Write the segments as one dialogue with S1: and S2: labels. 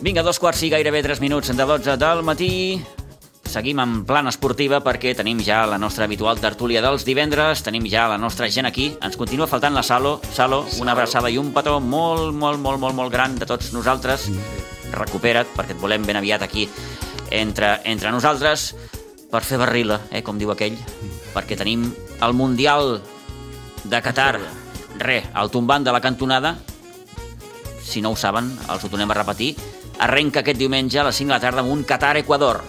S1: Vinga, dos quarts i gairebé tres minuts de 12 del matí. Seguim en plan esportiva perquè tenim ja la nostra habitual tertúlia dels divendres, tenim ja la nostra gent aquí. Ens continua faltant la Salo. Salo, una abraçada i un petó molt, molt, molt, molt, molt gran de tots nosaltres. Recupera't, perquè et volem ben aviat aquí entre, entre nosaltres per fer barrila, eh, com diu aquell, perquè tenim el Mundial de Qatar. Re, el tombant de la cantonada, si no ho saben, els ho tornem a repetir, arrenca aquest diumenge a les 5 de la tarda amb un Qatar-Equador.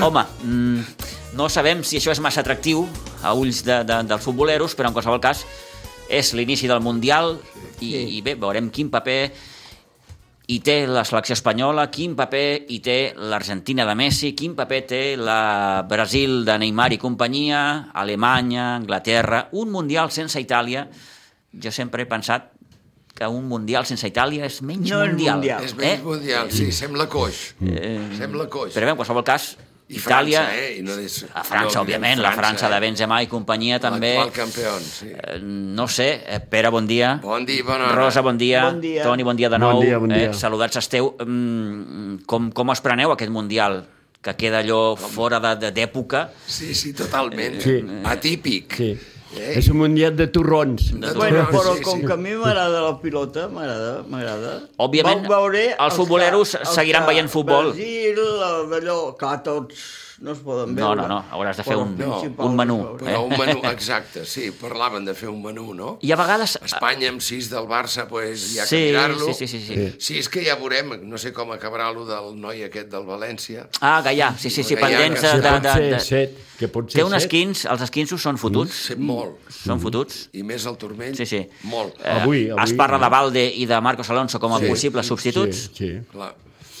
S1: Home, mm, no sabem si això és massa atractiu a ulls de, de, dels futboleros, però en qualsevol cas és l'inici del Mundial i, i bé, veurem quin paper hi té la selecció espanyola, quin paper hi té l'Argentina de Messi, quin paper té la Brasil de Neymar i companyia, Alemanya, Anglaterra... Un Mundial sense Itàlia, jo sempre he pensat que un Mundial sense Itàlia és menys
S2: No és
S1: mundial. eh?
S2: mundial.
S3: És menys mundial, sí, sembla coix. Sembla coix.
S1: Però bé, en qualsevol cas,
S3: I
S1: Itàlia...
S3: França, eh? I no és...
S1: A França,
S3: no, eh?
S1: òbviament, la França de Benzema i companyia també.
S3: L'actual campió, sí.
S1: Eh, No sé, eh, Pere, bon dia.
S3: Bon dia i bona hora.
S1: Rosa, bon dia.
S2: Bon dia.
S1: Toni, bon dia de nou.
S4: Bon dia, bon dia.
S1: Eh, saludats esteu. Mm, com, com es preneu aquest Mundial? Que queda allò fora de- de- d'època.
S3: Sí, sí, totalment.
S4: Sí.
S3: Atípic.
S4: Sí.
S3: Eh?
S4: És un mundial de turrons.
S3: De
S2: Bueno,
S3: tot.
S2: però
S3: Sí,
S2: com
S3: sí.
S2: que a mi m'agrada la pilota, m'agrada, m'agrada...
S1: Òbviament,
S2: Vau veure
S1: els futboleros seguiran veient futbol.
S2: Brasil, el d'allò, clar, tots no es poden
S1: No,
S2: veure.
S1: no, no, hauràs de fer
S2: Però
S1: un-
S2: els
S3: no,
S2: principals
S1: un menú,
S2: es veuen.
S3: Però un menú, exacte, sí, parlaven de fer un menú, no?
S1: Eh? I a vegades...
S3: Espanya amb 6 del Barça, pues, hi ha
S1: Sí,
S3: que mirar-lo.
S1: sí, sí, sí, sí. Sí.
S3: sí, és que ja veurem, no sé com acabarà lo del noi aquest del València.
S1: Ah, Gaià, sí, sí, sí,
S3: Gaià,
S1: pendents
S3: que
S1: de... de, de,
S4: Potser
S1: de...
S4: set, que potser
S1: Té uns
S4: set.
S1: quins, els esquinços són fotuts.
S3: Sé molt,
S1: Són fotuts.
S3: i més el turmell,
S1: Sí, sí.
S3: molt.
S1: Eh,
S4: Avui, avui.
S1: Es parla de Valde i de Marcos Alonso com a
S3: Sí.
S1: possibles substituts.
S4: Sí, sí.
S3: Clar.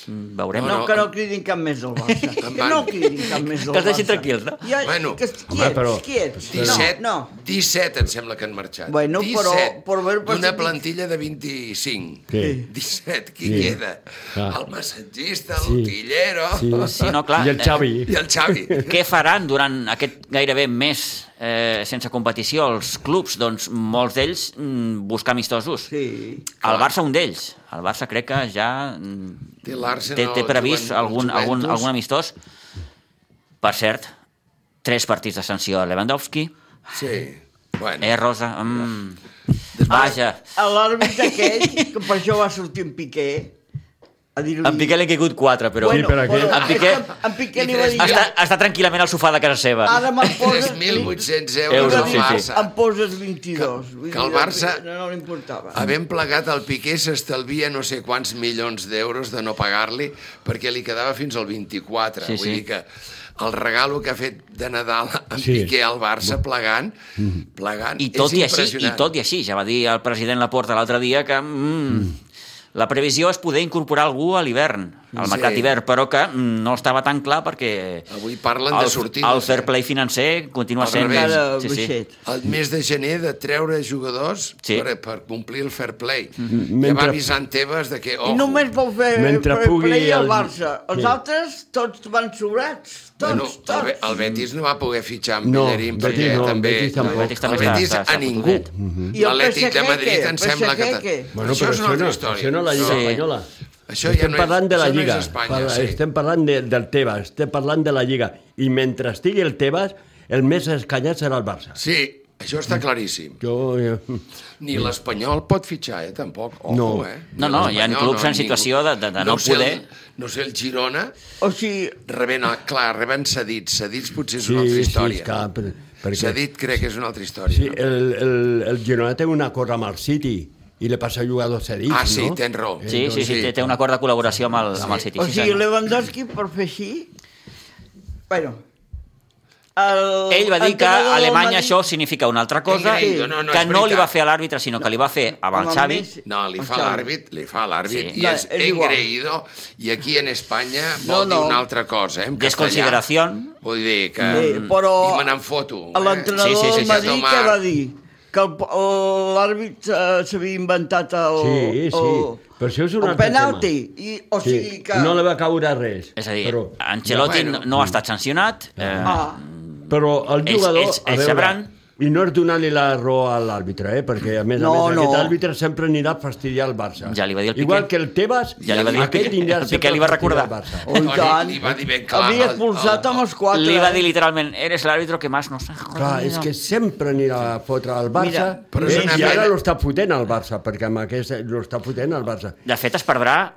S1: Mm, Veurem.
S2: No,
S3: Però-
S2: que no cridin cap més del Barça.
S3: Em
S2: que
S3: van-
S2: no cridin cap més del Barça.
S1: Que els deixin tranquils, no?
S2: Ja,
S3: Bueno.
S2: que quiets,
S4: Home, però-
S2: quiets.
S3: 17,
S2: No,
S3: no, no. 17 em sembla que han marxat.
S2: Bueno, però-
S3: 17,
S2: però haver
S3: D'una
S2: passat-
S3: plantilla de 25.
S4: Sí.
S3: 17, qui
S4: Sí.
S3: queda?
S4: Clar.
S3: El massatgista,
S4: Sí.
S3: l'utillero...
S4: Sí.
S1: Sí, no, clar. eh,
S4: I el Xavi.
S3: I el Xavi.
S1: Què faran durant aquest gairebé mes eh, sense competició els clubs? Doncs molts d'ells mm, buscar amistosos.
S2: no. Sí.
S1: El Barça un d'ells. El Barça crec que ja mm,
S3: Té l'Arsenal,
S1: té, té previst
S3: Juventus,
S1: algun, algun,
S3: Juventus.
S1: algun amistós. Per cert, tres partits de sanció a Lewandowski.
S3: Sí. Bueno,
S1: Eh, Rosa? Mm. Vaja.
S2: A l'àrbitre aquell, que per això va sortir en Piqué, a dir-li...
S1: En Piqué li han caigut quatre, però...
S4: Sí, però aquell-
S1: En Piqué-
S2: En Piqué li va dir...
S1: Està, està tranquil·lament al sofà de casa seva.
S2: Ara me'n poses...
S3: 3.800
S1: Euros,
S3: euros al
S1: sí, sí.
S3: Barça.
S2: Em poses 22.
S3: Que-
S2: Vull
S3: que el
S2: dir,
S3: Barça- Ah,
S2: No, no li importava.
S3: Havent plegat el Piqué s'estalvia no sé quants milions d'euros de no pagar-li perquè li quedava fins al 24.
S1: Sí,
S3: Vull
S1: sí.
S3: dir que el regalo que ha fet de Nadal en
S4: Sí. Mm.
S3: Piqué al Barça plegant, plegant
S1: I tot
S3: és
S1: i així, i
S3: impressionant.
S1: tot i així, ja va dir el president Laporta l'altre dia que mm, la previsió és poder incorporar algú a l'hivern, al
S3: Sí.
S1: mercat d'hivern, però que mm, no estava tan clar perquè
S3: Avui parlen
S1: el,
S3: de sortides.
S1: el fair play financer continua
S3: Al
S1: sent...
S3: revés.
S2: Encara
S1: Sí, sí.
S2: baixet.
S3: El mes de gener de treure jugadors
S1: Sí. Mhm.
S3: per, per complir el fair play. Ja va
S4: Mentre-
S3: avisant Tebas de que...
S2: I
S3: Oh,
S2: només vau fer
S4: Mentre
S2: fair
S4: pugui
S2: play al
S4: el-
S2: Barça. Els
S4: Sí.
S2: altres tots van sobrats. Tots,
S3: Bueno, el, Be-
S2: tots.
S3: el Betis no va poder fitxar amb
S4: No,
S3: Bellerín
S4: Betis
S3: perquè
S4: no,
S3: també...
S4: Betis tampoc.
S1: El Betis també
S3: el
S1: està-
S3: Betis
S1: està- està Mhm.
S3: a ningú.
S1: fotudet.
S2: Mhm. I el
S3: L'Atlètic de
S2: PSG,
S3: Madrid em
S2: què?
S3: sembla que...
S2: PSG, què?
S4: Bueno, però
S3: és una altra
S4: això, no,
S3: història.
S4: això no la Lliga
S1: Sí.
S4: Espanyola.
S3: Això ja
S4: estem
S3: no és-
S4: parlant de la
S3: això no és
S4: Lliga.
S3: Espanya,
S4: Parla-
S3: sí.
S4: Estem parlant de, del Tebas, estem parlant de la Lliga. I mentre estigui el Tebas, el més escanyat serà el Barça.
S3: Sí, això està claríssim.
S4: Jo, eh,
S3: Ni l'Espanyol pot fitxar, eh, tampoc. Ojo,
S4: No.
S3: eh?
S1: Mm. No, no, hi ha
S3: l'Espanyol,
S1: clubs en
S3: ningú.
S1: situació de- de- de no
S3: ho sé,
S1: poder.
S3: El, no ho sé, el Girona,
S2: O sigui,
S3: reben, el- clar, reben cedits. Cedits potser és
S4: sí,
S3: una altra
S4: sí,
S3: història.
S4: esclar, per- perquè-
S3: Cedit crec que és una altra història.
S4: sí,
S3: no?
S4: el, el, el Girona té un acord amb el City i li passa jugadors cedits,
S3: Ah, sí,
S4: no?
S3: tens raó.
S1: Sí, sí, sí,
S3: Sí.
S1: té- té un acord de col·laboració amb el, amb el City.
S2: o
S1: sí,
S2: sigui
S1: senyor.
S2: Lewandowski per fer així... Bueno, El
S1: Ell va dir que
S2: entrenador
S1: a
S2: del
S1: Alemanya
S2: Madrid-
S1: això significa una altra cosa,
S3: Ingrid,
S1: que
S3: no, no, és
S1: no li
S3: veritat.
S1: va fer a l'àrbitre, sinó que li va fer amb el
S2: Amb el
S1: Xavi.
S2: Messi.
S3: No, li
S2: Amb
S3: fa
S2: Xavi.
S3: l'àrbit, li fa l'àrbit,
S1: Sí.
S3: i
S2: No,
S3: és,
S2: és igual.
S3: engreïdo, i aquí en Espanya
S2: No,
S3: vol dir
S2: no.
S3: una altra cosa, eh, en
S1: Desconsideració.
S3: castellà. Vull dir que...
S2: Bé, però
S3: I me n'en foto. eh?
S2: A l'entrenador
S1: Sí, sí, sí,
S2: del
S1: sí.
S2: Madrid
S3: Tomar.
S2: què va dir? Que el po- el- l'àrbit eh, s'havia inventat el,
S4: Sí, sí.
S2: el,
S4: Però això és un
S2: el
S4: altre
S2: penalti. I, o
S4: Sí,
S2: sigui que...
S4: No li va caure res.
S1: És a dir,
S4: però,
S1: Ancelotti
S3: Bueno.
S1: no, no ha estat sancionat, eh,
S2: Ah,
S4: però el
S1: ells-
S4: jugador...
S1: ells-
S4: a
S1: ells
S4: veure,
S1: sabran.
S4: I no és donar-li la raó a l'àrbitre, eh? perquè a més a
S2: No,
S4: més
S2: no.
S4: aquest àrbitre sempre anirà a fastidiar el Barça.
S1: Ja li va dir el Piqué.
S4: Igual que el Tebas,
S1: Ja li va dir el
S4: aquest
S1: Piqué.
S4: anirà
S1: El Piqué
S4: sempre a
S1: li va
S4: fastidiar el
S1: recordar.
S4: Barça.
S2: oh, i
S3: Toni,
S2: tant.
S3: li va dir ben clar
S2: Havia
S3: el-
S2: expulsat
S3: el-
S2: amb els quatre.
S1: li va dir literalment, eres l'àrbitro que más nos ha
S4: Clar,
S1: jodido".
S4: és que sempre anirà a fotre al Barça
S2: Mira,
S3: Però
S4: però
S3: és
S4: eh?
S3: una
S4: i ara
S3: pena.
S4: lo està fotent al Barça, perquè amb aquest lo està fotent al Barça.
S1: De fet, es perdrà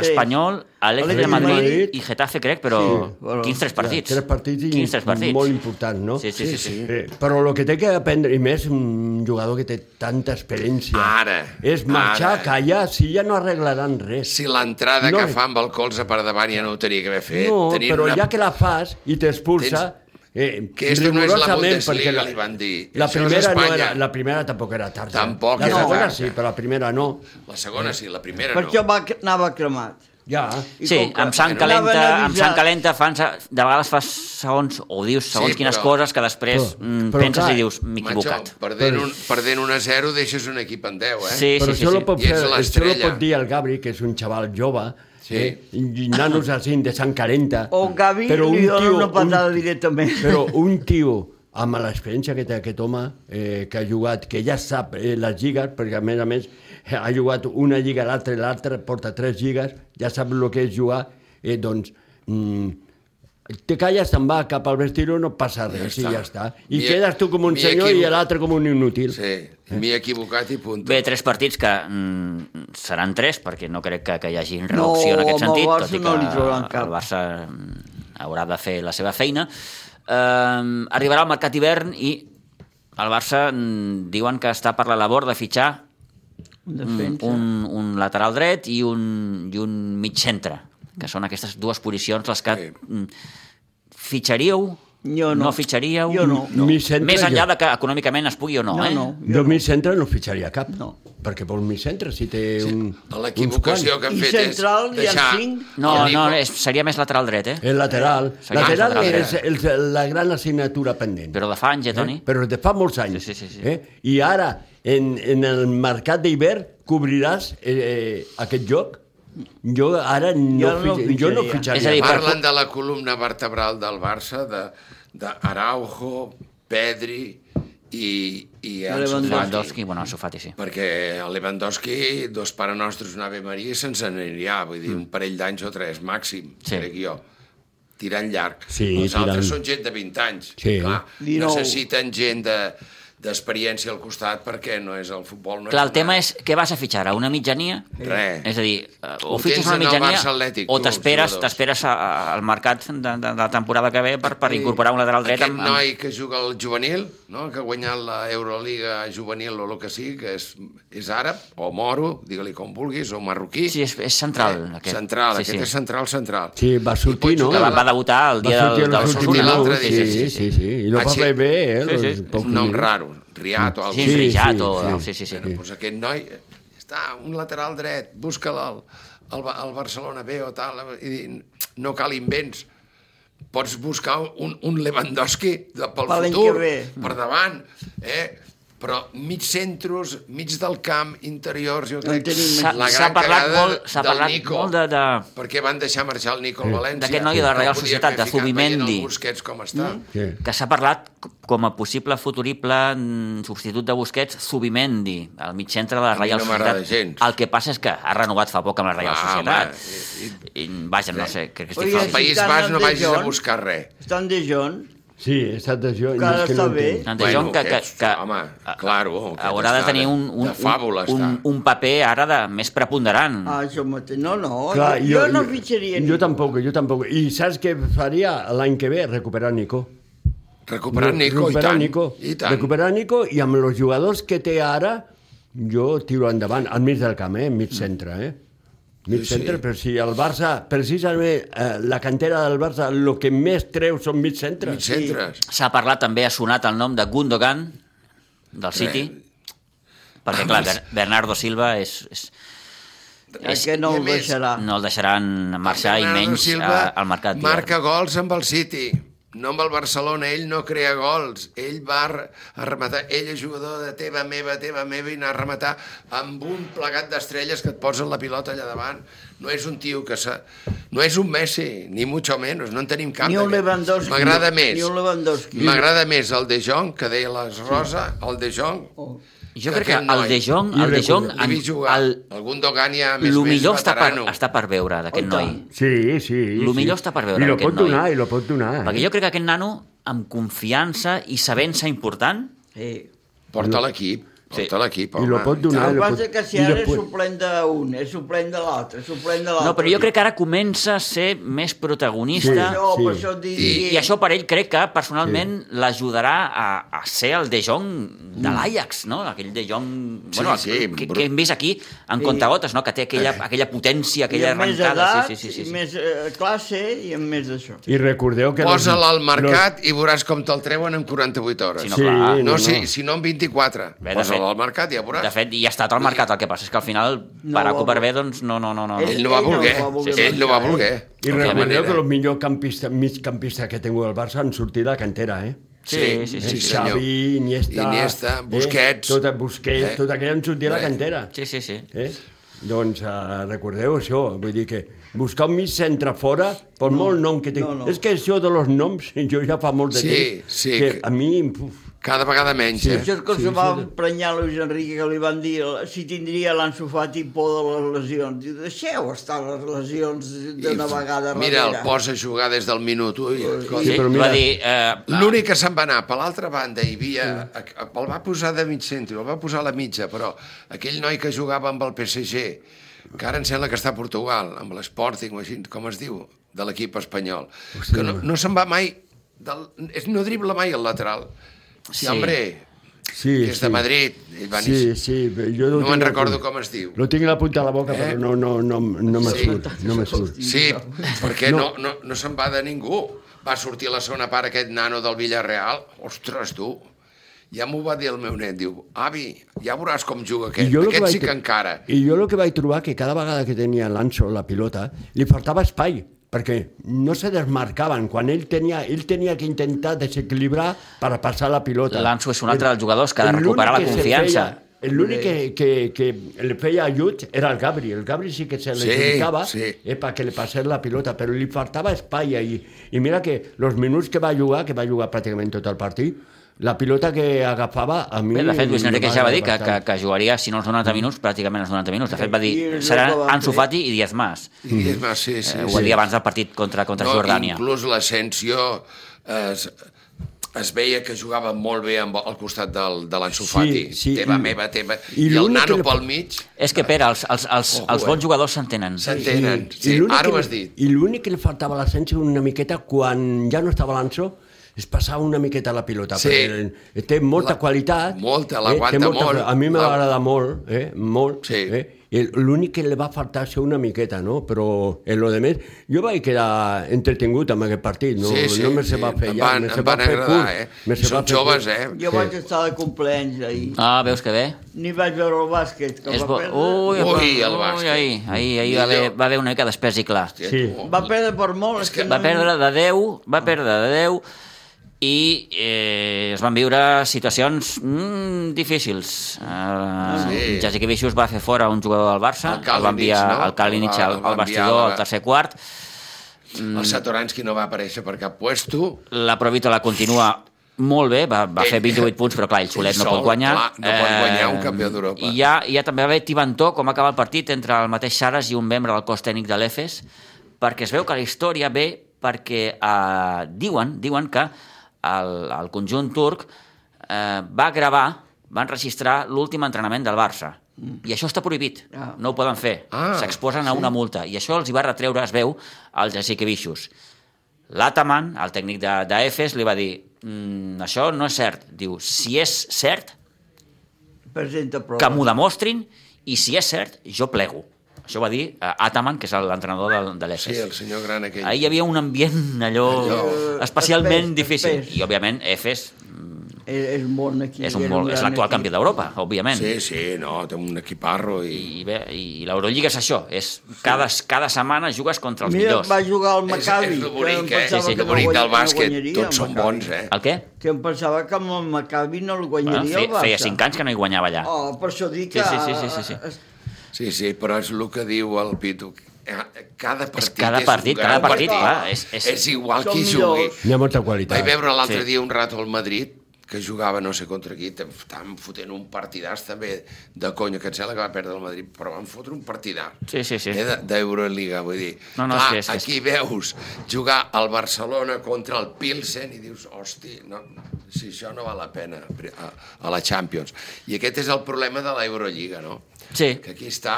S2: Sí.
S1: Espanyol, Atlètic
S2: Atlètic
S1: de Madrid,
S4: de Madrid.
S1: i Getafe, crec, però
S4: Sí,
S2: bueno,
S1: quins tres partits?
S4: Tres partits, i
S1: Quins tres partits?
S4: molt importants, no?
S1: Sí, sí, sí. sí.
S4: Eh, però el que té que aprendre, i més un jugador que té tanta experiència,
S3: Ara,
S4: és marxar,
S3: ara.
S4: callar, si ja no arreglaran res.
S3: Si l'entrada
S4: No.
S3: que fa amb el colze per davant ja no ho tenia que haver fet.
S4: no,
S3: tenien
S4: però
S3: una...
S4: ja que la fas i t'expulsa... Eh,
S3: Que esto no és la
S4: rigorosament,
S3: Bundesliga,
S4: perquè
S3: li van dir.
S4: La
S3: Això és
S4: primera, no
S3: Espanya.
S4: era, la primera tampoc era tarda.
S3: Tampoc
S4: la
S3: era
S4: segona
S3: tarda.
S4: sí, però la primera no.
S3: La segona sí, la primera
S2: Per això
S3: no.
S2: va, anava cremat.
S4: Ja.
S2: I
S1: Sí,
S2: com que
S1: amb sang
S2: anaven
S1: calenta, amb sang
S2: avisats.
S1: calenta fan, se- de vegades fas segons, o dius segons
S3: Sí,
S1: quines
S3: però-
S1: coses que després
S4: Però-
S1: mm,
S4: però
S1: penses
S4: clar,
S1: i dius, m'he equivocat.
S3: perdent, un, perdent un a 0 deixes un equip en 10, eh?
S1: Sí, sí,
S4: però
S1: sí.
S4: això,
S1: sí.
S4: Lo pot
S3: I
S4: fer,
S3: ets
S4: això lo
S3: l'estrella.
S4: pot dir el Gabri, que és un xaval jove,
S3: Sí.
S4: eh, i nanos així de sang calenta.
S2: O el Gavi li dona una patada directament.
S4: Però un tio amb l'experiència que té aquest home, eh, que ha jugat, que ja sap eh, les lligues, perquè a més a més eh, ha jugat una lliga, l'altra, i l'altra, porta tres lligues, ja sap el que és jugar, eh, doncs... Mm, te calles, te'n va cap al vestidor, no passa res, ja i ja està. I
S3: Mi-
S4: quedes tu com un
S3: mi
S4: senyor i
S3: equivoc-
S4: l'altre com un inútil.
S3: Sí, m'hi he equivocat i punt.
S1: Bé, tres partits que mm, seran tres, perquè no crec que, que hi hagi reducció
S2: No,
S1: en aquest
S2: amb el
S1: sentit,
S2: Barça
S1: tot i que
S2: no li trauran cap.
S1: el Barça mm, haurà de fer la seva feina. Um, arribarà al mercat d'hivern i el Barça mm, diuen que està per la labor de fitxar
S2: Un
S1: un,
S2: defensa.
S1: un, un lateral dret i un, i un mig centre, que són aquestes dues posicions les que
S3: Sí.
S1: mm, fitxaríeu,
S2: Jo no.
S1: no fitxaríeu...
S2: Jo no.
S4: Mi centre,
S1: Més enllà
S4: jo.
S1: de que econòmicament es pugui o no,
S2: No,
S1: eh?
S2: no.
S4: Jo mi centre no fitxaria cap.
S2: No.
S4: Perquè vol mi centre si té un...
S3: L'equivocació
S4: uns
S3: que han
S2: I
S3: fet
S2: central
S3: és
S2: hi ha
S3: deixar...
S2: cinc.
S1: No,
S3: el
S1: no,
S3: Nico-
S1: és, seria més lateral dret, eh?
S4: El lateral.
S1: Sí,
S4: La lateral
S3: lateral.
S4: és, és la gran assignatura pendent.
S1: Però de fa anys, eh, Toni?
S4: Eh? Però de fa molts anys.
S1: Sí, sí, sí, sí.
S4: Eh? I ara, en, en el mercat d'hivern, cobriràs eh, eh, aquest joc? Jo ara no,
S2: no
S4: fitx- jo no
S2: fitxaria.
S4: fitxaria.
S1: És a dir, per-
S3: Parlen de la columna vertebral del Barça, de, de Araujo, Pedri i, i Ansu
S1: Lewandowski,
S3: Fati.
S1: bueno, Ansu Fati, sí.
S3: Perquè el Lewandowski, dos pare nostres, una Ave Maria, i se'ns anirà, vull dir, un parell d'anys o tres, màxim,
S1: Mm. Sí.
S3: sí. crec jo. Tirant llarg.
S4: Sí,
S3: Els altres
S4: tirant.
S3: són gent de 20 anys.
S4: Sí.
S3: Clar,
S2: Dinou.
S3: necessiten gent de d'experiència al costat perquè no és el futbol no
S1: Clar, el
S3: és
S1: tema és què vas a fitxar, a una mitjania?
S3: Res.
S1: És a dir, eh, o
S3: Ho
S1: fitxes
S3: tens
S1: una
S3: en el
S1: mitjania
S3: Barça Atlètic,
S1: o
S3: tu,
S1: t'esperes
S3: jugadors.
S1: t'esperes a- a- al mercat de, de, de, la temporada que ve per, per incorporar un lateral dret.
S3: Aquest noi que juga al juvenil, no? que ha guanyat la Euroliga juvenil o el que sigui, que és, és àrab, o moro, digue-li com vulguis, o marroquí.
S1: Sí, és, és central,
S3: Eh,
S1: aquest.
S3: Central,
S1: sí, sí.
S3: aquest és central, central.
S4: Sí, va sortir, no?
S1: Que va, va debutar el
S4: Va
S1: dia
S4: sortir
S1: del, del
S4: els
S1: Osasuna,
S3: sortir
S4: últims
S1: no?
S3: l'altre
S4: minuts,
S3: dia,
S4: sí, sí, sí, sí. I lo
S3: Ah,
S4: va
S3: sí.
S4: fer bé, eh?
S1: Sí, sí.
S4: els pocs
S3: Un nom
S4: minuts.
S3: raro, Riat o
S1: Sí, sí,
S3: alguna cosa.
S4: sí,
S1: Rijat,
S4: sí,
S1: o... Sí,
S4: sí.
S1: sí, sí.
S3: Bueno, doncs aquest noi, eh, està, un lateral dret, busca'l al, al, Ba- al Barcelona B o tal, i dir, no cal invents. Pots buscar un, un Lewandowski de, pel
S2: Per l'any
S3: futur,
S2: que ve.
S3: per davant, eh? però mig centros, mig del camp, interiors, jo crec
S2: tenim més.
S1: S'ha- s'ha parlat molt- s'ha
S3: del
S1: parlat
S3: Nico,
S1: molt de- de-
S3: perquè van deixar marxar el Nico al València.
S1: D'aquest noi de la Real
S3: No podia
S1: Societat,
S3: fer
S1: de
S3: ficat veient el
S1: Zubimendi. Mm.
S3: Busquets com està.
S4: Sí.
S1: que s'ha parlat com a possible futurible mm, substitut de Busquets, Subimendi, el mig centre de la
S3: mi
S1: Reial
S3: no m'agrada
S1: Societat.
S3: gens.
S1: El que passa és que ha renovat fa poc amb la Reial
S3: Ah,
S1: Societat. I, vaja, no sé, crec que estic
S2: Oye,
S3: Al
S1: faltant.
S3: País
S2: Ciutadans
S3: Bas no
S2: de
S3: vagis a
S2: John.
S3: buscar res.
S2: Estan de John.
S4: Sí, està d'això.
S2: Que ara està bé.
S1: Tant de Jong Doncs que, que,
S3: aquest,
S1: que
S3: home, claro, aquest
S1: haurà de
S3: està
S1: tenir
S3: de-
S1: un, un,
S3: de fàbula,
S1: un, un,
S3: està.
S1: un paper ara de més preponderant.
S2: Ah, això mateix. No, Oh, no.
S4: Clar,
S2: jo, no fitxaria
S4: Jo
S2: ningú.
S4: tampoc, jo tampoc. I saps què faria l'any que ve? Recuperar Nico.
S3: Recuperar Nico, i
S4: recuperar
S3: tant.
S4: Nico.
S3: I tant.
S4: Recuperar Nico i amb els jugadors que té ara, jo tiro endavant, al mig del camp, eh? Mig centre, eh? Mig
S3: Mm. Sí, sí.
S4: centre, però si el Barça, precisament eh, la cantera del Barça, el que més treu són mig centres.
S3: Mig centres.
S1: S'ha parlat també, ha sonat el nom de Gundogan,
S3: Eh.
S1: del City, perquè, clar, Ber- Bernardo Silva és... és és-
S2: que no
S3: i a
S2: el
S3: més,
S2: deixarà.
S1: no el deixaran marxar i
S3: Bernardo
S1: menys
S3: Silva
S1: a, al mercat. d'hivern.
S3: Marca gols amb el City, no amb el Barcelona. Ell no crea gols. Ell va re- a rematar. Ell és jugador de teva, meva, teva, meva i anar a rematar amb un plegat d'estrelles que et posen la pilota allà davant. No és un tio que se... No és un Messi, ni mucho menos. No en tenim cap.
S2: Ni un
S3: d'aquest.
S2: Lewandowski.
S3: M'agrada
S2: Ni-
S3: més.
S2: ni un Lewandowski.
S3: M'agrada més el De Jong, que deia les Rosa, el De Jong.
S2: Oh.
S1: Jo crec que
S3: Aquest
S1: el
S3: noi.
S1: De Jong,
S4: Jo
S1: el De Jong,
S3: L'he vist jugar.
S1: el,
S3: El... Algun Dogan ja més,
S1: el
S3: més
S1: millor està per,
S3: veterano.
S1: està per veure d'aquest
S2: Oh,
S1: noi.
S2: tant.
S4: Sí, sí.
S1: Lo
S4: sí.
S1: millor està per veure,
S4: I lo
S1: aquest
S4: pot donar,
S1: noi.
S4: i lo pot donar.
S1: Perquè jo crec que aquest nano, amb confiança i sabent-se important,
S2: Sí.
S3: Porta l'equip, porta l'equip,
S4: I lo pot
S3: i
S4: donar.
S3: tant.
S2: El que
S4: lo
S2: passa
S4: pot-
S2: que si
S4: i
S2: ara és
S4: després-
S2: suplent d'un, és suplent eh, de l'altre, és suplent de l'altre.
S1: no, però jo crec que ara comença a ser més
S2: Per
S1: protagonista
S2: això,
S4: Sí.
S2: per això et dic...
S1: i això per ell crec que personalment l'ajudarà a, a ser el De Jong de l'Ajax, no? Aquell De Jong
S3: Sí,
S1: bueno,
S3: sí,
S1: que,
S3: bru-
S1: que hem vist aquí en sí. contagotes, no? que té aquella, aquella potència,
S2: I
S1: aquella
S2: amb més
S1: arrencada.
S2: edat,
S1: sí, sí, sí,
S2: i
S1: sí, sí.
S2: més eh, classe i amb més d'això.
S4: I recordeu que...
S3: Posa-la al
S4: los-
S3: mercat i veuràs com te'l treuen en 48 hores.
S1: Si
S4: los-
S1: no,
S4: Sí,
S1: clar.
S3: no,
S4: no, no.
S3: sí, si no en 24.
S1: Bé, de fet-
S3: Posa-la al mercat i ja veuràs.
S1: De fet, ja ha estat al mercat, el que passa és que al final,
S2: No
S1: per A
S2: va
S1: o per B,
S2: voler.
S1: doncs no, no, no. no.
S3: ell no va
S2: Ell no
S3: voler,
S2: va voler
S3: ell no va
S2: marcar, eh?
S3: voler.
S4: I
S3: De cap manera.
S4: recordeu que els millors campistes, mig campistes que tingut al Barça han sortit de la cantera, eh?
S1: Sí, sí, sí,
S4: Sí,
S1: sí,
S3: senyor.
S4: Xavi, Iniesta...
S3: Iniesta, Busquets.
S4: Eh? Tot, Busquets,
S3: Eh?
S4: eh? tot aquell han sortit de la
S3: Eh?
S4: cantera.
S1: Sí, sí, sí.
S4: Eh? Doncs eh, recordeu això, vull dir que buscar un mig centre fora, per no, molt nom que tingui...
S2: no, no.
S4: És que això de los noms, jo ja fa molt de
S3: Sí,
S4: temps
S3: sí,
S4: que
S3: que-
S4: a mi... Puf,
S3: Cada vegada menys,
S4: Sí.
S3: eh?
S2: Això és com
S4: Sí,
S2: se va
S4: sí.
S2: emprenyar Luis Enrique, que li van dir si tindria l'Anso Fati por de les lesions. Diu, deixeu estar les lesions d'una
S3: I
S2: vegada
S3: Mira, el
S2: darrere.
S3: posa a jugar des del minut 1.
S1: Sí,
S4: però
S1: va
S4: mira-
S1: dir... Eh,
S3: L'únic que se'n va anar per l'altra banda hi havia... a- a- El va posar de mig centre, el va posar a la mitja, però aquell noi que jugava amb el PSG, que ara em sembla que està a Portugal, amb l'Sporting o així, com es diu, de l'equip espanyol, que no, no se'n va mai... Del, és- no dribla mai el lateral. Sí,
S1: Sí.
S3: hombre,
S4: sí,
S3: que és de
S4: sí.
S3: Madrid, ell va
S4: Sí,
S3: néixer.
S4: sí, jo
S3: No
S4: tinc
S3: me'n
S4: a
S3: recordo
S4: punt.
S3: com es diu.
S4: Lo tinc a la punta de la boca,
S3: Eh?
S4: però no, no, no, no me
S3: Sí.
S4: surt, no me surt.
S3: Sí, perquè no, no, no se'n va de ningú. Va sortir a la segona part aquest nano del Villarreal. Ostres, tu! Ja m'ho va dir el meu net, diu, avi, ja veuràs com juga aquest.
S4: lo
S3: Aquest
S4: vaig
S3: sí que
S4: tro-
S3: encara.
S4: I jo el que vaig trobar que cada vegada que tenia l'Anso la pilota, li faltava espai, perquè no se desmarcaven. Quan ell tenia, ell tenia que intentar desequilibrar per passar la pilota.
S1: L'Anso és un altre dels jugadors que ha de
S4: L'únic
S1: recuperar la
S4: que se
S1: confiança.
S4: feia- L'únic que, que, que li feia ajut era el Gabri. El Gabri sí que se
S3: Sí,
S4: l'adjudicava
S3: sí.
S4: sí, eh, perquè li passés la pilota, però li faltava espai ahí. I mira que els minuts que va jugar, que va jugar pràcticament tot el partit, la pilota que agafava a mi...
S1: Bé, de fet, Luis Enrique ja va dir que, que,
S4: bastant.
S1: que jugaria, si no els 90 minuts, pràcticament els 90 minuts. De fet, va
S2: I és
S1: dir,
S2: el
S1: seran
S2: que va fer.
S1: Ansu Fati i 10 més.
S3: I és més, sí, sí.
S1: Eh, ho
S3: sí.
S1: va dir abans del partit contra, contra
S3: No,
S1: Jordània.
S3: Inclús l'Ascensió es, es veia que jugava molt bé amb, al costat del, de l'Ansu
S4: Sí,
S3: Fati.
S4: sí,
S3: teva,
S4: i-
S3: meva, teva. I,
S4: i
S3: el
S4: l'únic
S3: nano
S4: que-
S3: pel mig
S1: És que, Pere, els, els, els,
S3: Ojo,
S1: els
S3: eh?
S1: bons jugadors s'entenen.
S3: s'entenen.
S4: I-
S3: Sí,
S4: i l'únic
S3: ara
S4: que-
S3: ho has dit.
S4: I l'únic que li faltava a l'Asensio una miqueta, quan ja no estava l'Anso, es passava una miqueta la pilota.
S3: Sí.
S4: perquè, eh, Té molta
S3: La-
S4: qualitat.
S3: molta,
S4: eh,
S3: l'aguanta
S4: té molta-
S3: molt,
S4: A mi
S3: la-
S4: m'agrada molt, eh? Molt.
S3: Sí.
S4: Eh? I L'únic que li va faltar ser una miqueta, no? Però en lo de més, jo vaig quedar entretingut amb aquest partit. No,
S3: Sí, sí,
S4: no me se
S3: sí.
S4: va fer
S3: Em
S4: ja,
S3: van-
S4: me se
S3: em
S4: va
S3: van
S4: fer
S3: agradar,
S4: curt.
S3: eh?
S4: Me se
S3: I són
S4: va fer curt.
S3: joves, eh?
S2: Jo
S4: Sí.
S2: vaig estar de compleanys ahir.
S1: Ah, veus que bé?
S2: Ni vaig veure el bàsquet, que
S1: És
S2: va
S1: bo...
S2: perdre.
S1: Ui,
S3: Doncs Ui, el
S1: ui,
S3: bàsquet.
S1: ahir, ahir, ahir va, haver,
S3: Millor.
S1: va haver una mica d'espès i clar.
S4: Sí.
S2: Va perdre per molt. És que
S1: Va perdre de 10, va perdre de 10 i eh, es van viure situacions mm, difícils. Uh, sí.
S3: Sí.
S1: Jessica Vicius va fer fora un jugador del Barça,
S3: El
S1: el, el va enviar
S3: Kalinic, no?
S1: el Kalinic
S3: El va-
S1: al,
S3: el
S1: al
S3: va enviar
S1: vestidor
S3: a la-
S1: al tercer quart.
S3: El Satoranski no va aparèixer per cap puesto.
S1: La Provítola continua molt bé, va, va
S3: Ell-
S1: fer 28 punts, però clar, ell solet
S3: ell
S1: no pot
S3: Eh, sol,
S1: guanyar. Eh,
S3: clar, no pot guanyar un campió d'Europa.
S1: I hi ha, hi ha també va haver Tibantó, com acaba el partit, entre el mateix Saras i un membre del cos tècnic de l'EFES, perquè es veu que la història ve perquè eh, diuen, diuen que el, el conjunt turc eh, va gravar, van registrar l'últim entrenament del Barça. I això està prohibit,
S2: Ah.
S1: no ho poden fer.
S3: Ah,
S1: S'exposen a una multa. I això els hi va retreure, es veu, al Jessica Vixos. L'Ataman, el tècnic de, de EFES, li va dir mm, això no és cert. Diu, si és cert,
S2: Presenta prou.
S1: que m'ho demostrin i si és cert, jo plego. Això ho va dir eh, Ataman, que és l'entrenador de, de l'ESES.
S3: Sí, el senyor gran aquell.
S1: Ahir hi havia un ambient allò,
S3: Allò- eh,
S1: especialment
S2: Espès,
S1: difícil.
S2: espès.
S1: I, òbviament, EFES
S2: És, és molt aquí.
S1: és, un molt, és l'actual campió d'Europa, òbviament.
S3: Sí, sí, no, té un equiparro i...
S1: I, bé, i l'Eurolliga és això, és cada, cada setmana jugues contra els
S2: Mira,
S1: millors.
S2: va jugar al
S3: És,
S2: Maccabi.
S3: és lo bonic,
S2: que em
S3: eh?
S2: pensava
S1: Sí, sí,
S2: que
S3: lo
S2: no
S3: bonic
S2: guanya-
S3: del
S2: no
S3: bàsquet.
S2: guanyaria el
S3: Tots són
S2: Maccabi.
S3: bons, eh?
S1: El què?
S2: Que em pensava que amb el Maccabi no el
S1: Ah,
S2: guanyaria
S1: fe,
S2: el Barça.
S1: feia 5 anys que no hi guanyava allà.
S2: Oh, per això dic que...
S1: Sí, sí, sí, sí, sí, sí.
S3: Sí, sí, però és el que diu el Pitu. Cada partit
S1: cada
S3: és
S1: partit,
S3: un gran
S1: cada partit,
S3: partit.
S1: clar, és- és-
S3: és igual
S2: Són
S3: qui jugui.
S2: millors.
S4: Hi ha molta
S3: Vaig
S4: qualitat.
S3: veure l'altre
S1: Sí.
S3: sí. dia un rato al Madrid que jugava no sé contra qui, tam- estaven fotent un partidàs també de conya, que em sembla que va perdre el Madrid, però van fotre un partidàs
S1: Sí, sí, sí.
S3: eh, de- d'Euroliga, vull dir.
S1: No, no, és
S3: Clar,
S1: que és- és-
S3: aquí veus jugar al Barcelona contra el Pilsen i dius, hosti, no, si això no val la pena pri- a, a la Champions. I aquest és el problema de l'Eurolliga, no?
S1: Sí.
S3: Que aquí està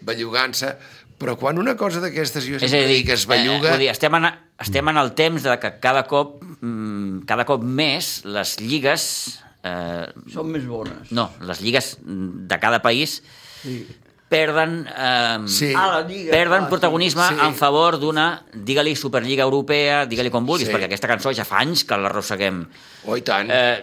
S3: bellugant-se, però quan una cosa d'aquestes jo
S1: És a
S3: sempre
S1: dir,
S3: dic que es
S1: eh,
S3: belluga...
S1: vull dir, estem, en, estem en el temps de que cada cop, mm, cada cop més les lligues... Eh,
S2: Són més bones.
S1: no, les lligues mm, de cada país
S2: Sí.
S1: perden, eh,
S3: Sí.
S2: Ah, la lliga.
S1: perden
S2: ah,
S1: protagonisme
S3: sí.
S1: en favor d'una, digue-li, Superliga Europea, digue-li com vulguis,
S3: Sí.
S1: perquè aquesta cançó ja fa anys que l'arrosseguem.
S3: Oh, i tant.
S1: Eh,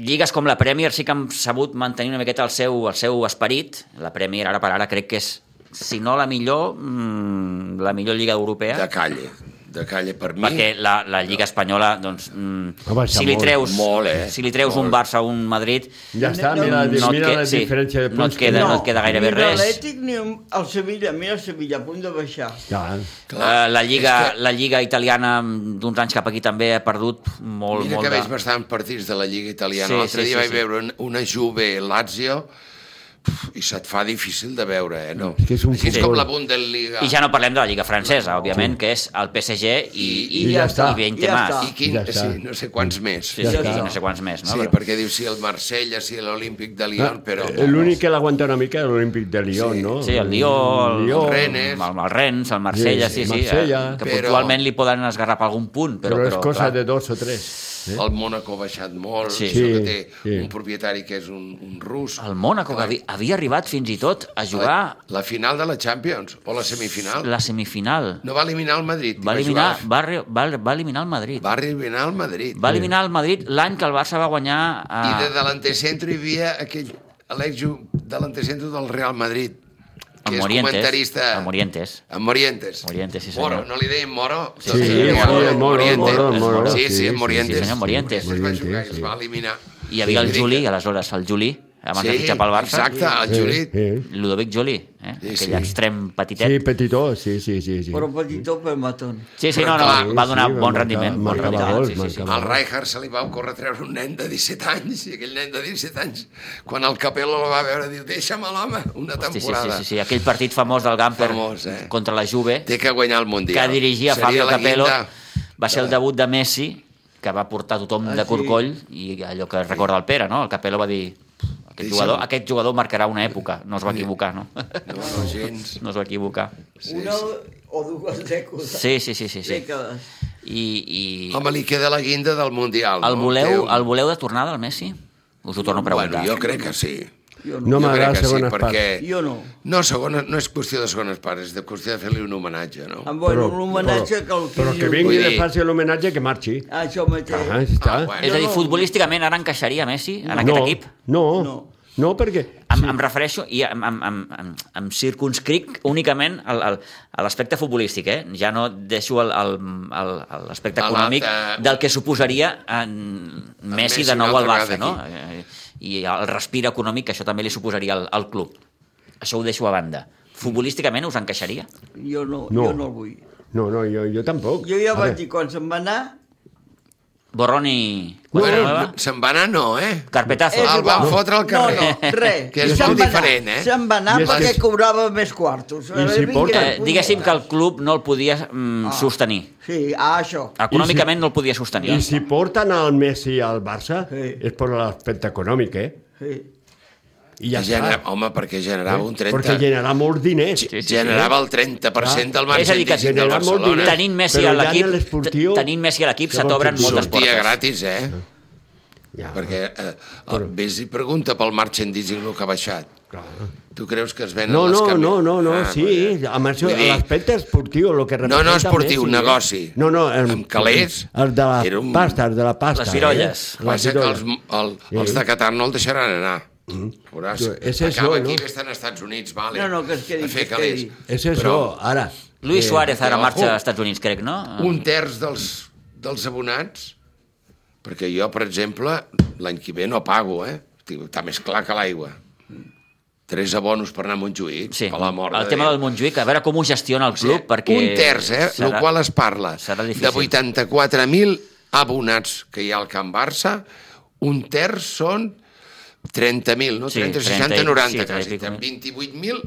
S1: lligues com la Premier sí que han sabut mantenir una miqueta el seu, el seu esperit. La Premier, ara per ara, crec que és, si no la millor, mm, la millor lliga europea.
S3: De calle, de calle per mi.
S1: perquè la, la Lliga Espanyola, doncs, mm,
S4: Ha baixat
S1: si li
S4: molt,
S1: treus,
S3: molt, eh?
S1: si li treus un
S3: Molt.
S1: Barça o un Madrid,
S4: Ja està,
S2: No,
S4: mira,
S1: no et
S4: mira
S1: que-
S4: la
S1: sí,
S4: diferència de
S1: no et
S4: punts. que
S1: queda-
S4: hi ha.
S1: no et queda gaire- gairebé
S2: ni
S1: res.
S2: l'Atlètic ni el Sevilla. Mira el Sevilla, a punt de baixar.
S4: Ja.
S1: Clar, eh, la, Lliga,
S3: és que-
S1: la Lliga italiana mm, d'uns anys cap aquí també ha perdut molt,
S3: Mira
S1: molt
S3: que veig
S1: de...
S3: bastant partits de la Lliga Italiana.
S1: Sí,
S3: L'altre
S1: sí,
S3: dia
S1: sí,
S3: vaig
S1: sí.
S3: veure un- una Juve Lazio pf, i se't fa difícil de veure, eh? No.
S4: És que és un
S3: Així és
S4: futbol.
S3: com la Bundesliga.
S1: I ja no parlem de la Lliga francesa, òbviament, que és el PSG i, i,
S4: I ja està.
S1: i 20
S2: I ja
S1: més.
S2: està.
S3: I quin,
S4: Ja
S3: ja
S4: està.
S3: sí, no sé quants més.
S1: Sí,
S4: Ja
S1: sí,
S4: està.
S1: no sé quants més, no?
S3: sí
S1: Però-
S3: perquè diu si el Marsella, si l'Olímpic de Lyon, però...
S4: eh, L'únic Ah, que l'aguanta una mica és l'Olímpic de Lyon,
S3: Sí.
S4: no?
S1: Sí, el Lió, el,
S4: Lyon,
S1: el,
S3: Rennes.
S1: el, el Rennes, el Marsella, sí,
S4: Sí, sí,
S1: sí, sí,
S4: Marsella.
S1: eh, que
S3: Però-
S1: puntualment li poden esgarrar per algun punt,
S4: però,
S1: però...
S4: és cosa
S1: clar.
S4: de dos o tres. Eh?
S3: El Mónaco ha baixat molt,
S1: Sí.
S3: sí. això que
S4: Sí,
S3: té
S4: sí.
S3: sí. un propietari que és un, un rus.
S1: El Mónaco, que havia, havia arribat fins i tot a jugar
S3: La, la final de la Champions, o la semifinal.
S1: la semifinal.
S3: No va eliminar el Madrid. i
S1: va
S3: va
S1: eliminar,
S3: jugar-
S1: va, re- va, va eliminar el Madrid. Va,
S3: Va eliminar el Madrid.
S1: va eliminar el Madrid l'any que el Barça va guanyar...
S3: I de
S1: A...
S3: delanter centre hi havia aquell l'ex delanter centre del Real Madrid, que
S1: Amb
S3: és
S1: Morientes,
S3: comentarista...
S1: amb Morientes.
S3: Amb Morientes.
S1: Morientes, sí, senyor.
S3: Moro, no li deien Moro?
S1: Sí,
S3: Doncs
S1: sí,
S3: li deien
S1: Moro,
S4: Moro, Moro, Moro.
S3: Sí,
S4: Sí,
S3: sí,
S4: sí,
S3: Morientes.
S1: sí, senyor, Morientes.
S3: Es va jugar
S4: Morientes,
S3: i es va eliminar.
S1: I hi havia el
S3: Sí,
S1: Juli, aleshores, el Juli, abans de fitxar pel Barça.
S3: Exacte, el Juli.
S4: Sí,
S1: Ludovic Juli, eh?
S3: Sí,
S1: aquell
S3: sí.
S1: extrem
S4: sí,
S1: petitet.
S4: petitó, sí, sí, sí. sí.
S2: Però petitó per matón.
S1: Sí, sí, no,
S3: Clar,
S1: no, va donar
S4: sí,
S1: bon
S4: va marcar-
S1: rendiment. Bon
S4: marcava
S1: rendiment
S4: gols,
S1: sí, sí, sí.
S4: marcava-
S3: Al Rijkaard se li va ocórrer treure un nen de 17 anys, i aquell nen de 17 anys, quan el Capello el va veure, diu, deixa'm a l'home, una
S1: Sí, sí, sí,
S3: temporada.
S1: sí, sí, aquell partit famós del Gamper
S3: Famós, eh?
S1: contra la Juve,
S3: Té que guanyar el Mundial.
S1: que dirigia
S3: Seria
S1: Fabio
S3: la Eh.
S1: Capello,
S3: guinda.
S1: va ser el debut de Messi, que va portar tothom
S2: Ah,
S1: de
S2: sí.
S1: corcoll, i allò que recorda el Pere, no? El Capello va dir, aquest
S3: Deixa'm.
S1: jugador, aquest jugador marcarà una època, no es va equivocar, no?
S3: No, no, gens.
S1: No es va equivocar.
S3: Sí,
S2: Una o dues dècades.
S1: Sí, sí, sí, sí. sí.
S2: Dècades.
S1: I, i
S3: Home, li queda la guinda del Mundial.
S1: el,
S3: no?
S1: voleu,
S3: Té
S1: el voleu de tornada, el Messi? Us ho torno a preguntar.
S3: Bueno, jo crec que sí.
S2: Jo no.
S4: No eh,
S3: Jo
S4: m'agrada
S3: crec que
S4: segones
S3: sí,
S4: parts.
S3: perquè...
S2: Jo no.
S3: No, segona, no és qüestió de segones parts, és de qüestió de fer-li un homenatge, no?
S2: Em bueno, un homenatge que
S4: però,
S2: el
S4: però que
S2: diu.
S4: vingui
S3: Vull
S4: i
S3: dir-
S4: li faci l'homenatge que marxi.
S2: Ah, Això mateix.
S4: Ah, ja està.
S3: Ah, bueno.
S1: És a dir,
S2: No, no.
S1: futbolísticament ara encaixaria Messi en aquest
S4: no,
S1: equip?
S4: No, no,
S2: No.
S4: no perquè...
S1: Em, em refereixo i em, em, em, em, em circunscric únicament al, al, a l'aspecte futbolístic, eh? Ja no deixo el- el- el- el- l'aspecte
S3: A l'altre-
S1: econòmic del que suposaria en Messi
S3: Messi
S1: de
S3: una
S1: nou al
S3: altra
S1: Barça, no?
S3: vegada
S1: Eh, I el respir econòmic que això també li suposaria al, al club. Això ho deixo a banda. Futbolísticament us encaixaria?
S2: Jo no,
S4: No.
S2: jo no el vull.
S4: No, no, jo, jo tampoc.
S2: Jo ja
S4: A
S2: vaig
S4: veure,
S2: dir, quan se'n va anar,
S1: Borrón i...
S3: Bueno,
S1: Bueno,
S3: no, se'n va anar, no, eh?
S1: Carpetazo.
S3: el van fotre al carrer.
S2: No, no, res.
S3: Que és
S2: Se'n
S3: molt
S2: va
S3: diferent,
S2: anar-
S3: eh?
S2: Se'n va anar
S4: I és que
S2: perquè
S4: és-
S2: cobrava més quartos.
S4: I si
S2: Vinga,
S4: porta-
S1: Eh, diguéssim que el club no el podia mm, sostenir.
S2: Sí, ah, això.
S1: Econòmicament no el podia sostenir.
S4: I si porten el Messi al Barça,
S2: Sí.
S4: és per l'aspecte econòmic, eh?
S2: Sí.
S4: I ja
S3: Genera,
S4: està. Eh?
S3: home, perquè generava un 30...
S4: Perquè generarà molts diners.
S1: Sí, sí, sí.
S3: Generava el 30% del
S1: És a dir, que
S3: merchandising del
S4: generava molt
S3: Barcelona.
S4: diners.
S1: Tenint Messi
S4: Però
S1: a
S4: ja en
S1: l'equip,
S4: l'esportiu-
S1: te- tenint Messi a l'equip
S4: Llavors,
S1: s't'obren moltes
S3: Sortia
S1: portes.
S3: gratis, eh?
S4: Ja.
S3: Perquè eh, el, vés i pregunta pel merchandising el que ha baixat.
S4: Clar.
S3: Tu creus que es venen
S4: No,
S3: les
S4: no,
S3: cami-
S4: no, no, no,
S3: Ah,
S4: sí,
S3: molt bé.
S4: amb això,
S3: Vull dir,
S4: l'aspecte esportiu, el que representa
S3: no esportiu,
S4: Messi, eh?
S3: negoci.
S4: No, no, el,
S3: Amb calés,
S4: El de la
S3: era un-
S4: pasta, el de la pasta.
S1: Les virolles.
S4: Eh?
S3: Va
S4: Les
S3: ser que els,
S4: virolles.
S3: el, els de Qatar no el deixaran anar. Veuràs.
S4: Jo- és això,
S3: Acaba aquí,
S4: no?
S3: vés-te'n als Estats Units, vale.
S2: No, no, que es quedi,
S3: A fer
S2: que es quedi.
S3: calés.
S4: És això,
S3: Però
S4: ara.
S1: Luis Suárez ara
S3: ojo.
S1: marxa als Estats Units, crec, no?
S3: Un terç dels, dels abonats, perquè jo, per exemple, l'any que ve no pago, eh? Estic- Està més clar que l'aigua. Tres abonos per anar a Montjuïc,
S1: Sí,
S3: per la mort
S1: el
S3: de
S1: tema
S3: Déu.
S1: del Montjuïc, a veure com ho gestiona el club,
S3: Sí,
S1: eh? perquè...
S3: Un terç, eh? Serà, el qual es parla
S1: serà
S3: de
S1: difícil.
S3: 84.000 abonats que hi ha al Camp Barça, un terç són 30.000, no?
S1: Sí,
S3: 30, 60,
S1: 30,
S3: 90,
S1: sí,
S3: quasi.
S1: 30.
S3: 28.000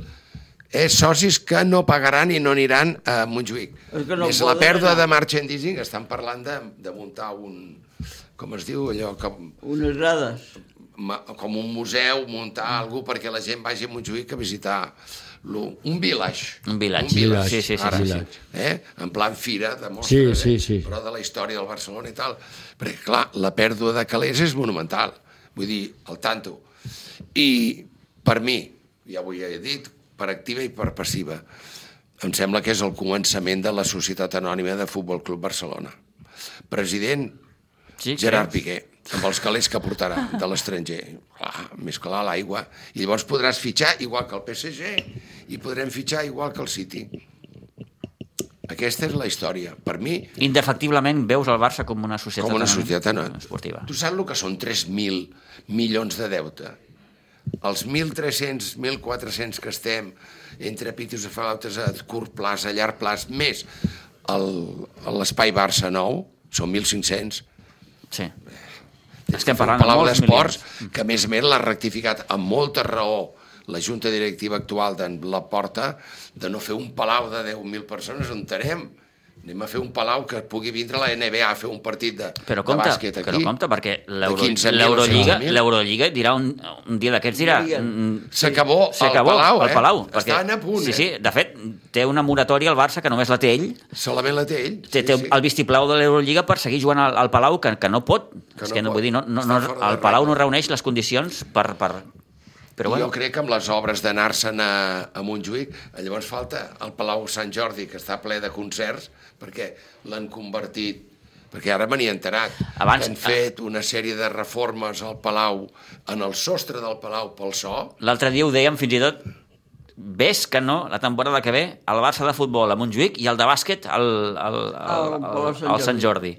S3: eh, socis que no pagaran i no aniran a Montjuïc.
S2: És que no
S3: Més la
S2: poden
S3: pèrdua
S2: anar.
S3: de merchandising, estan parlant de, de muntar un com es diu allò, com,
S2: Unes grades.
S3: ma- com un museu, muntar alguna perquè la gent vagi a Montjuïc a visitar lo- un village.
S1: Un village. Sí, sí, sí,
S3: ara,
S1: sí,
S4: village.
S3: Eh? En plan fira de mostres,
S4: Sí, sí,
S3: eh?
S4: sí.
S3: però de la història del Barcelona i tal. Perquè, clar, la pèrdua de calés és monumental. Vull dir, al tanto. I per mi, ja ho he dit, per activa i per passiva, em sembla que és el començament de la Societat Anònima de Futbol Club Barcelona. President,
S1: Sí,
S3: Gerard
S1: crec.
S3: Piqué, amb els calés que portarà de l'estranger. Clar, més clar l'aigua. I llavors podràs fitxar igual que el PSG i podrem fitxar igual que el City. Aquesta és la història. Per mi,
S1: Indefectiblement veus el Barça com una societat
S3: com una
S1: anònima
S3: societat anònima.
S1: esportiva.
S3: Tu saps el que són 3.000 milions de deute? Els 1.300, 1.400 que estem entre pitos i falautes a curt plaç, a llarg plaç, més el- l'espai Barça nou, són 1.500,
S1: Sí. Estem parlant de
S3: Palau
S1: molts
S3: d'Esports,
S1: milions.
S3: que a més a més l'ha rectificat amb molta raó la junta directiva actual d'en La Porta de no fer un palau de 10.000 persones, on anem? Anem a fer un palau que pugui vindre la NBA a fer un partit de,
S1: Però
S3: de
S1: compte,
S3: bàsquet aquí.
S1: però compte perquè l'Euro-
S3: 15.000 o
S1: l'Eurolliga
S3: 16.000.
S1: l'Eurolliga dirà un, un dia d'aquests dirà
S2: Diria.
S1: mm,
S3: S'acabó el
S1: s'acabó
S3: Palau,
S1: el
S3: eh?
S1: Palau
S3: Estan a punt,
S1: sí,
S3: eh?
S1: sí, de fet té una moratòria al Barça que només la té ell
S3: Solament la té ell.
S1: té, té el vistiplau de l'Eurolliga per seguir jugant al, al Palau que, que no pot
S3: Que
S1: és
S3: no
S1: que no,
S3: pot.
S1: vull dir, no, no, no,
S3: Està fora de
S1: el Palau
S3: regla.
S1: no reuneix les condicions per, per... però
S3: Però
S1: bueno,
S3: Jo crec que amb les obres d'anar-se'n a, a Montjuïc, llavors falta el Palau Sant Jordi, que està ple de concerts, perquè l'han convertit perquè ara me n'hi he enterat.
S1: Abans-
S3: que han fet una sèrie de reformes al Palau, en el sostre del Palau pel so,
S1: l'altre dia ho dèiem fins i tot ves que no, la temporada que ve el Barça de futbol a Montjuïc i el de bàsquet al, al, al,
S2: Al
S1: al,
S2: Palau Sant
S1: al Sant Jordi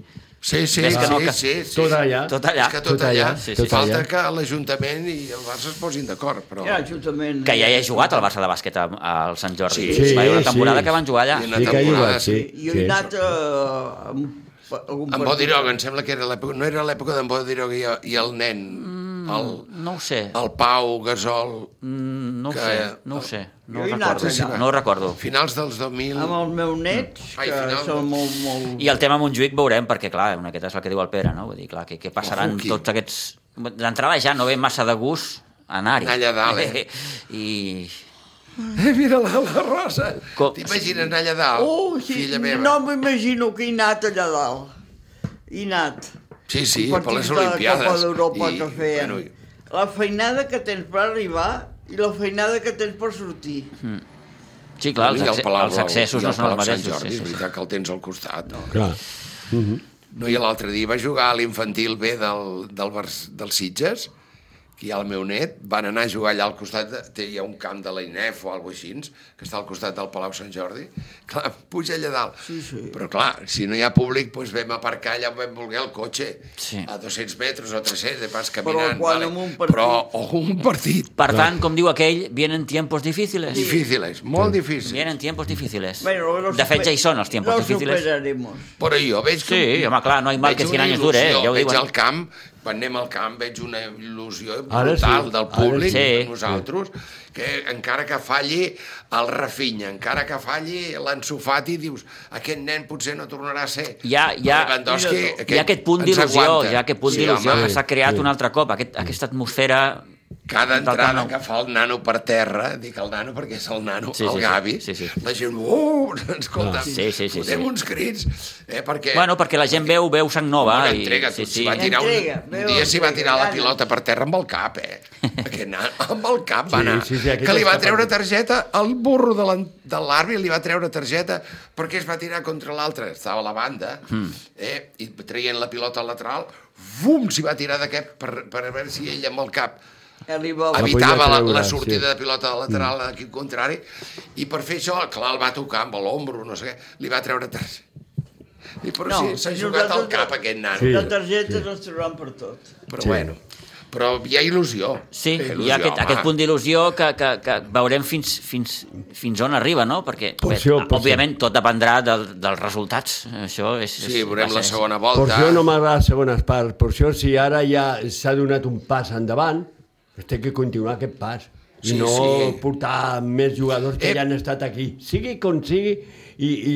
S3: Sí, sí,
S1: Ves que
S3: sí,
S1: no, que-
S3: sí, sí.
S4: Tot allà.
S1: tot allà
S3: És que tot,
S4: Tot
S3: allà.
S4: allà,
S1: sí,
S3: Tot
S1: sí.
S3: Falta
S4: allà.
S3: que l'Ajuntament i el Barça es posin d'acord, però...
S2: Era justament...
S1: Que ja hi ha jugat el Barça de bàsquet a- al Sant Jordi.
S3: Sí,
S1: Va haver una
S4: sí.
S1: temporada que van jugar allà.
S3: I en-
S4: Sí que hi va, sí.
S2: Jo he anat eh, amb pa- algun
S3: En Bodiroga, em sembla que era l'època... No era l'època d'en Bodiroga i, i el nen,
S1: Mm.
S3: el,
S1: No ho sé,
S3: el Pau Gasol,
S1: no ho
S3: que-
S1: sé, no ho sé. No ho
S2: Jo he anat
S1: recordo.
S2: allà.
S1: No ho recordo.
S3: finals dels 2000...
S2: Amb els meus nets,
S3: Ai,
S2: que
S3: final.
S2: són molt, molt...
S1: I el tema Montjuïc veurem, perquè clar, una aquest és el que diu el Pere, no? Vull dir, clar, què, què passaran
S3: Ojo,
S1: tots aquests... D'entrada ja no ve massa de gust anar-hi.
S3: Anar allà dalt, eh?
S1: I...
S3: Eh, mira la, la Rosa.
S1: Com-
S3: T'imagines anar allà dalt,
S2: Oh, sí,
S3: filla meva?
S2: no m'imagino que he anat allà dalt. He anat.
S3: Sí, sí,
S2: Un
S3: per les
S2: partit de
S3: Olimpiades.
S2: Copa d'Europa
S3: I,
S2: que feien.
S3: bueno, i-
S2: La feinada que tens per arribar i la feinada que tens per sortir.
S1: Sí, clar, els,
S3: i el
S1: acce-
S3: Palau
S1: els
S3: Blau,
S1: accessos
S3: i
S1: no
S3: el
S1: són els
S3: Palau Sant
S1: mateixos. sí,
S3: Jordi,
S1: sí,
S3: és
S1: sí.
S3: veritat que el tens al costat. No,
S4: Clar.
S3: no i l'altre dia va jugar a l'infantil B del, del, Bar del Sitges, que hi ha el meu net, van anar a jugar allà al costat, de, té, hi ha un camp de la INEF o alguna així, que està al costat del Palau Sant Jordi, clar, puja allà dalt.
S2: Sí, sí.
S3: Però clar, si no hi ha públic, doncs vam aparcar allà on vam voler el cotxe,
S1: Sí.
S3: a 200 metres o 300, de pas caminant.
S2: quan
S3: vale.
S2: amb un partit-
S3: Però, o un partit,
S1: Per tant, com diu aquell, vienen tiempos difíciles.
S3: Difíciles, molt difícils.
S1: Vienen tiempos difíciles.
S2: Bueno, lo
S1: De fet,
S2: super-
S1: ja hi són els tiempos
S2: lo
S1: difíciles.
S2: superaremos.
S3: Però jo veig que...
S1: Sí, home, clar, no hi ha mal
S3: veig
S1: que cien
S3: una
S1: anys dure, eh,
S3: il·lusió,
S1: ja ho
S3: veig
S1: diuen.
S3: al camp, quan anem al camp, veig una il·lusió
S4: Ara sí,
S3: brutal del
S4: ara
S3: públic,
S1: sí.
S3: de nosaltres, que encara que falli el Rafinha, encara que falli l'Ansu Fati, dius, aquest nen potser no tornarà a ser
S1: hi ha, hi ha,
S3: Lewandowski,
S1: hi ha aquest punt
S3: doncs ens
S1: d'il·lusió,
S3: aguanta.
S1: hi ha aquest punt
S3: Sí,
S1: d'il·lusió
S3: home.
S1: que s'ha creat un altre cop, aquest, aquesta atmosfera
S3: cada entrada
S1: nano.
S3: que fa el nano per terra, dic el nano perquè és el nano,
S1: Sí,
S3: sí,
S1: sí,
S3: el
S1: sí.
S3: Gavi,
S1: Sí, sí.
S3: la gent, uh, escolta,
S1: Sí, sí, sí, sí,
S3: fotem
S1: sí.
S3: uns crits, eh, perquè...
S1: Bueno, perquè la gent veu, veu sang nova.
S3: Bona
S1: i-
S3: entrega,
S1: sí,
S3: tu,
S1: sí.
S3: s'hi va tirar un,
S2: Entrega,
S3: un
S2: veu,
S3: dia s'hi va
S2: entrega,
S3: tirar la
S2: gana.
S3: pilota per terra amb el cap, eh? Aquest nan, amb el cap va
S4: Sí,
S3: anar.
S4: sí, sí, aquest
S3: que li va
S4: està
S3: treure
S4: patit.
S3: targeta, el burro de l'an- de l'àrbitre li va treure targeta perquè es va tirar contra l'altre, estava a la banda,
S1: Hmm.
S3: eh? i traient la pilota al lateral, bum, s'hi va tirar d'aquest per, per veure si ell amb el cap
S2: Ja li va...
S4: Avi-
S3: evitava la,
S4: Ah, treure,
S3: la sortida
S4: sí. Hmm.
S3: de pilota lateral a l'equip contrari, i per fer això, clar, el va tocar amb l'ombro, no sé què, li va treure targeta. I però
S2: No,
S3: no, sí, s'ha jugat al
S2: nosaltres-
S3: cap aquest nano.
S4: Sí.
S2: La targeta sí. ens trauran per tot.
S3: però
S4: Sí.
S3: sí. bueno però hi ha il·lusió
S1: Sí,
S3: il·lusió,
S1: hi ha aquest,
S3: home.
S1: aquest punt d'il·lusió que, que, que veurem fins, fins, fins on arriba, no? Perquè,
S4: Pues jo, pues
S1: òbviament, tot dependrà del, dels resultats. Això és...
S3: sí,
S1: és,
S3: veurem
S1: va
S3: la
S1: ser-
S3: segona
S4: Per
S3: volta
S4: això no m'agrada segones parts. Per això, si ara ja s'ha donat un pas endavant, es té que continuar aquest pas. I
S3: Sí,
S4: no
S3: sí.
S4: portar més jugadors que
S3: Eh.
S4: ja han estat aquí. Sigui com sigui, i, i,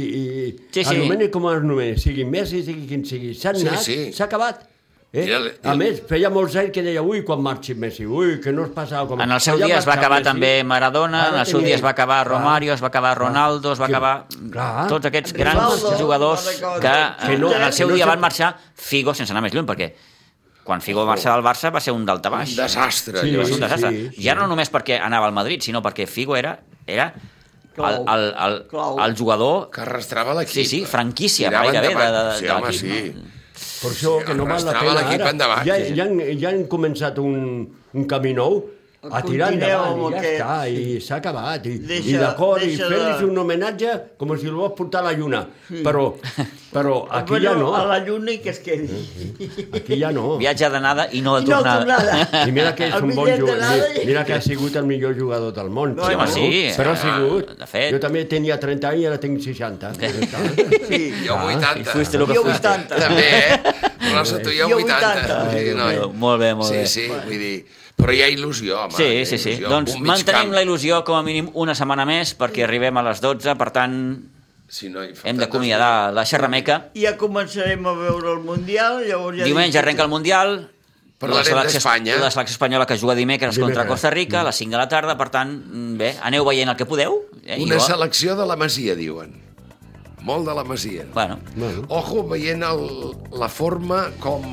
S4: i
S1: Sí, sí.
S4: anomeni com es nomeni, sigui Messi, sigui quin sigui. S'ha
S3: Sí,
S4: anat,
S3: sí.
S4: s'ha acabat. Eh?
S3: Era el-
S4: A més, feia molts anys que deia, ui, quan marxi Messi, ui, que no es passava com...
S1: En el seu
S4: Ja
S1: dia es va
S4: marxar
S1: acabar
S4: Messi.
S1: també Maradona, en
S4: Ara
S1: el seu
S4: tenia-
S1: dia es va acabar
S4: Clar.
S1: Romario, es va acabar Ronaldo, es va
S4: Que-
S1: acabar...
S4: clar.
S1: Tots aquests grans
S2: Rivaldo,
S1: jugadors
S2: Maradona,
S1: que eh,
S2: que
S1: en
S2: no-
S1: el seu
S4: que no
S1: dia
S4: se-
S1: van marxar Figo, sense anar més lluny, perquè quan Figo va marxar del Barça va ser un daltabaix.
S3: un desastre
S4: Sí,
S3: allò.
S1: va ser
S4: sí.
S1: un desastre. Ja no només perquè anava al Madrid, sinó perquè Figo era, era el, el, el,
S2: Clau.
S1: el jugador
S3: que arrastrava l'equip
S1: Sí, sí, franquícia,
S3: Tirava
S1: gairebé,
S3: endavant.
S1: de- de-
S3: sí,
S1: de
S3: home,
S1: l'equip,
S3: sí.
S4: Per això
S3: Sí,
S4: que no val la
S3: arrastrava
S4: pena
S3: l'equip
S4: ara.
S3: endavant,
S4: ja,
S3: sí, sí.
S4: ja, han, ja han començat un, un camí nou a tirar
S2: Continueu
S4: endavant
S2: amb
S4: i ja
S2: aquest.
S4: està, i s'ha acabat. I,
S2: Deixa-
S4: i d'acord, i
S2: deixa de-
S4: fer-los un homenatge com si el vols portar a la lluna. Però, però aquí
S2: Bueno,
S4: ja no,
S2: A la lluna i que es quedi.
S4: aquí ja no.
S1: viatge d'anada i no de
S2: I no
S1: tornada.
S2: tornada.
S4: I mira que és
S2: El
S4: un bon
S2: bitllet
S4: jugador.
S2: d'anada i-
S4: Mira que ha sigut el millor jugador del món.
S2: Sí, home,
S1: sí,
S4: Però
S1: eh,
S4: ha sigut.
S1: de fet.
S4: Jo també tenia 30 anys i ara tinc 60.
S2: Sí.
S3: jo
S4: Ah,
S3: 80
S1: fuiste lo que
S2: Jo
S1: fuiste.
S2: 80.
S3: també, eh? Rosa, tu jo
S2: Jo
S3: 80.
S2: 80.
S3: Vull dir, noi.
S1: Déu, molt bé, molt
S3: sí,
S1: bé.
S3: Sí, vull dir... Però hi ha il·lusió, home. hi
S1: Sí,
S3: ha
S1: sí, sí.
S3: il·lusió.
S1: Doncs
S3: Un mig
S1: mantenim
S3: camp,
S1: la il·lusió com a mínim una setmana més perquè arribem a les 12, per tant
S3: Si no, hi falten
S1: hem
S3: dos
S1: d'acomiadar la xerrameca.
S2: Ja començarem a veure el Mundial, llavors ja...
S1: Diumenge arrenca el Mundial,
S3: Parlarem
S1: la selecció-
S3: d'Espanya.
S1: La selecció espanyola que juga dimecres
S4: Dimecres.
S1: contra Costa Rica a les 5 de la tarda, per tant, mm, bé, aneu veient el que podeu. Eh? i
S3: Una
S1: jo-
S3: selecció de la Masia, diuen. Molt de la Masia.
S1: Bueno,
S4: Bueno,
S3: Ojo veient el, la forma com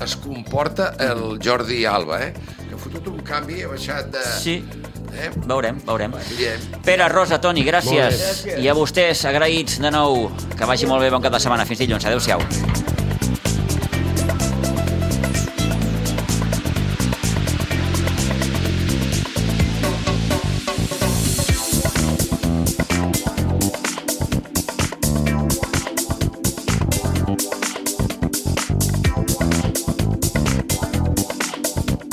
S3: es comporta el Jordi Alba, eh? Que ha fotut un canvi, ha baixat de...
S1: sí,
S3: Eh?
S1: veurem, veurem.
S3: Guillem.
S1: Pere, Rosa, Toni, gràcies.
S2: Molt bé.
S1: I a vostès, agraïts de nou. Que vagi molt bé, bon cap de setmana. Fins dilluns. Adéu-siau.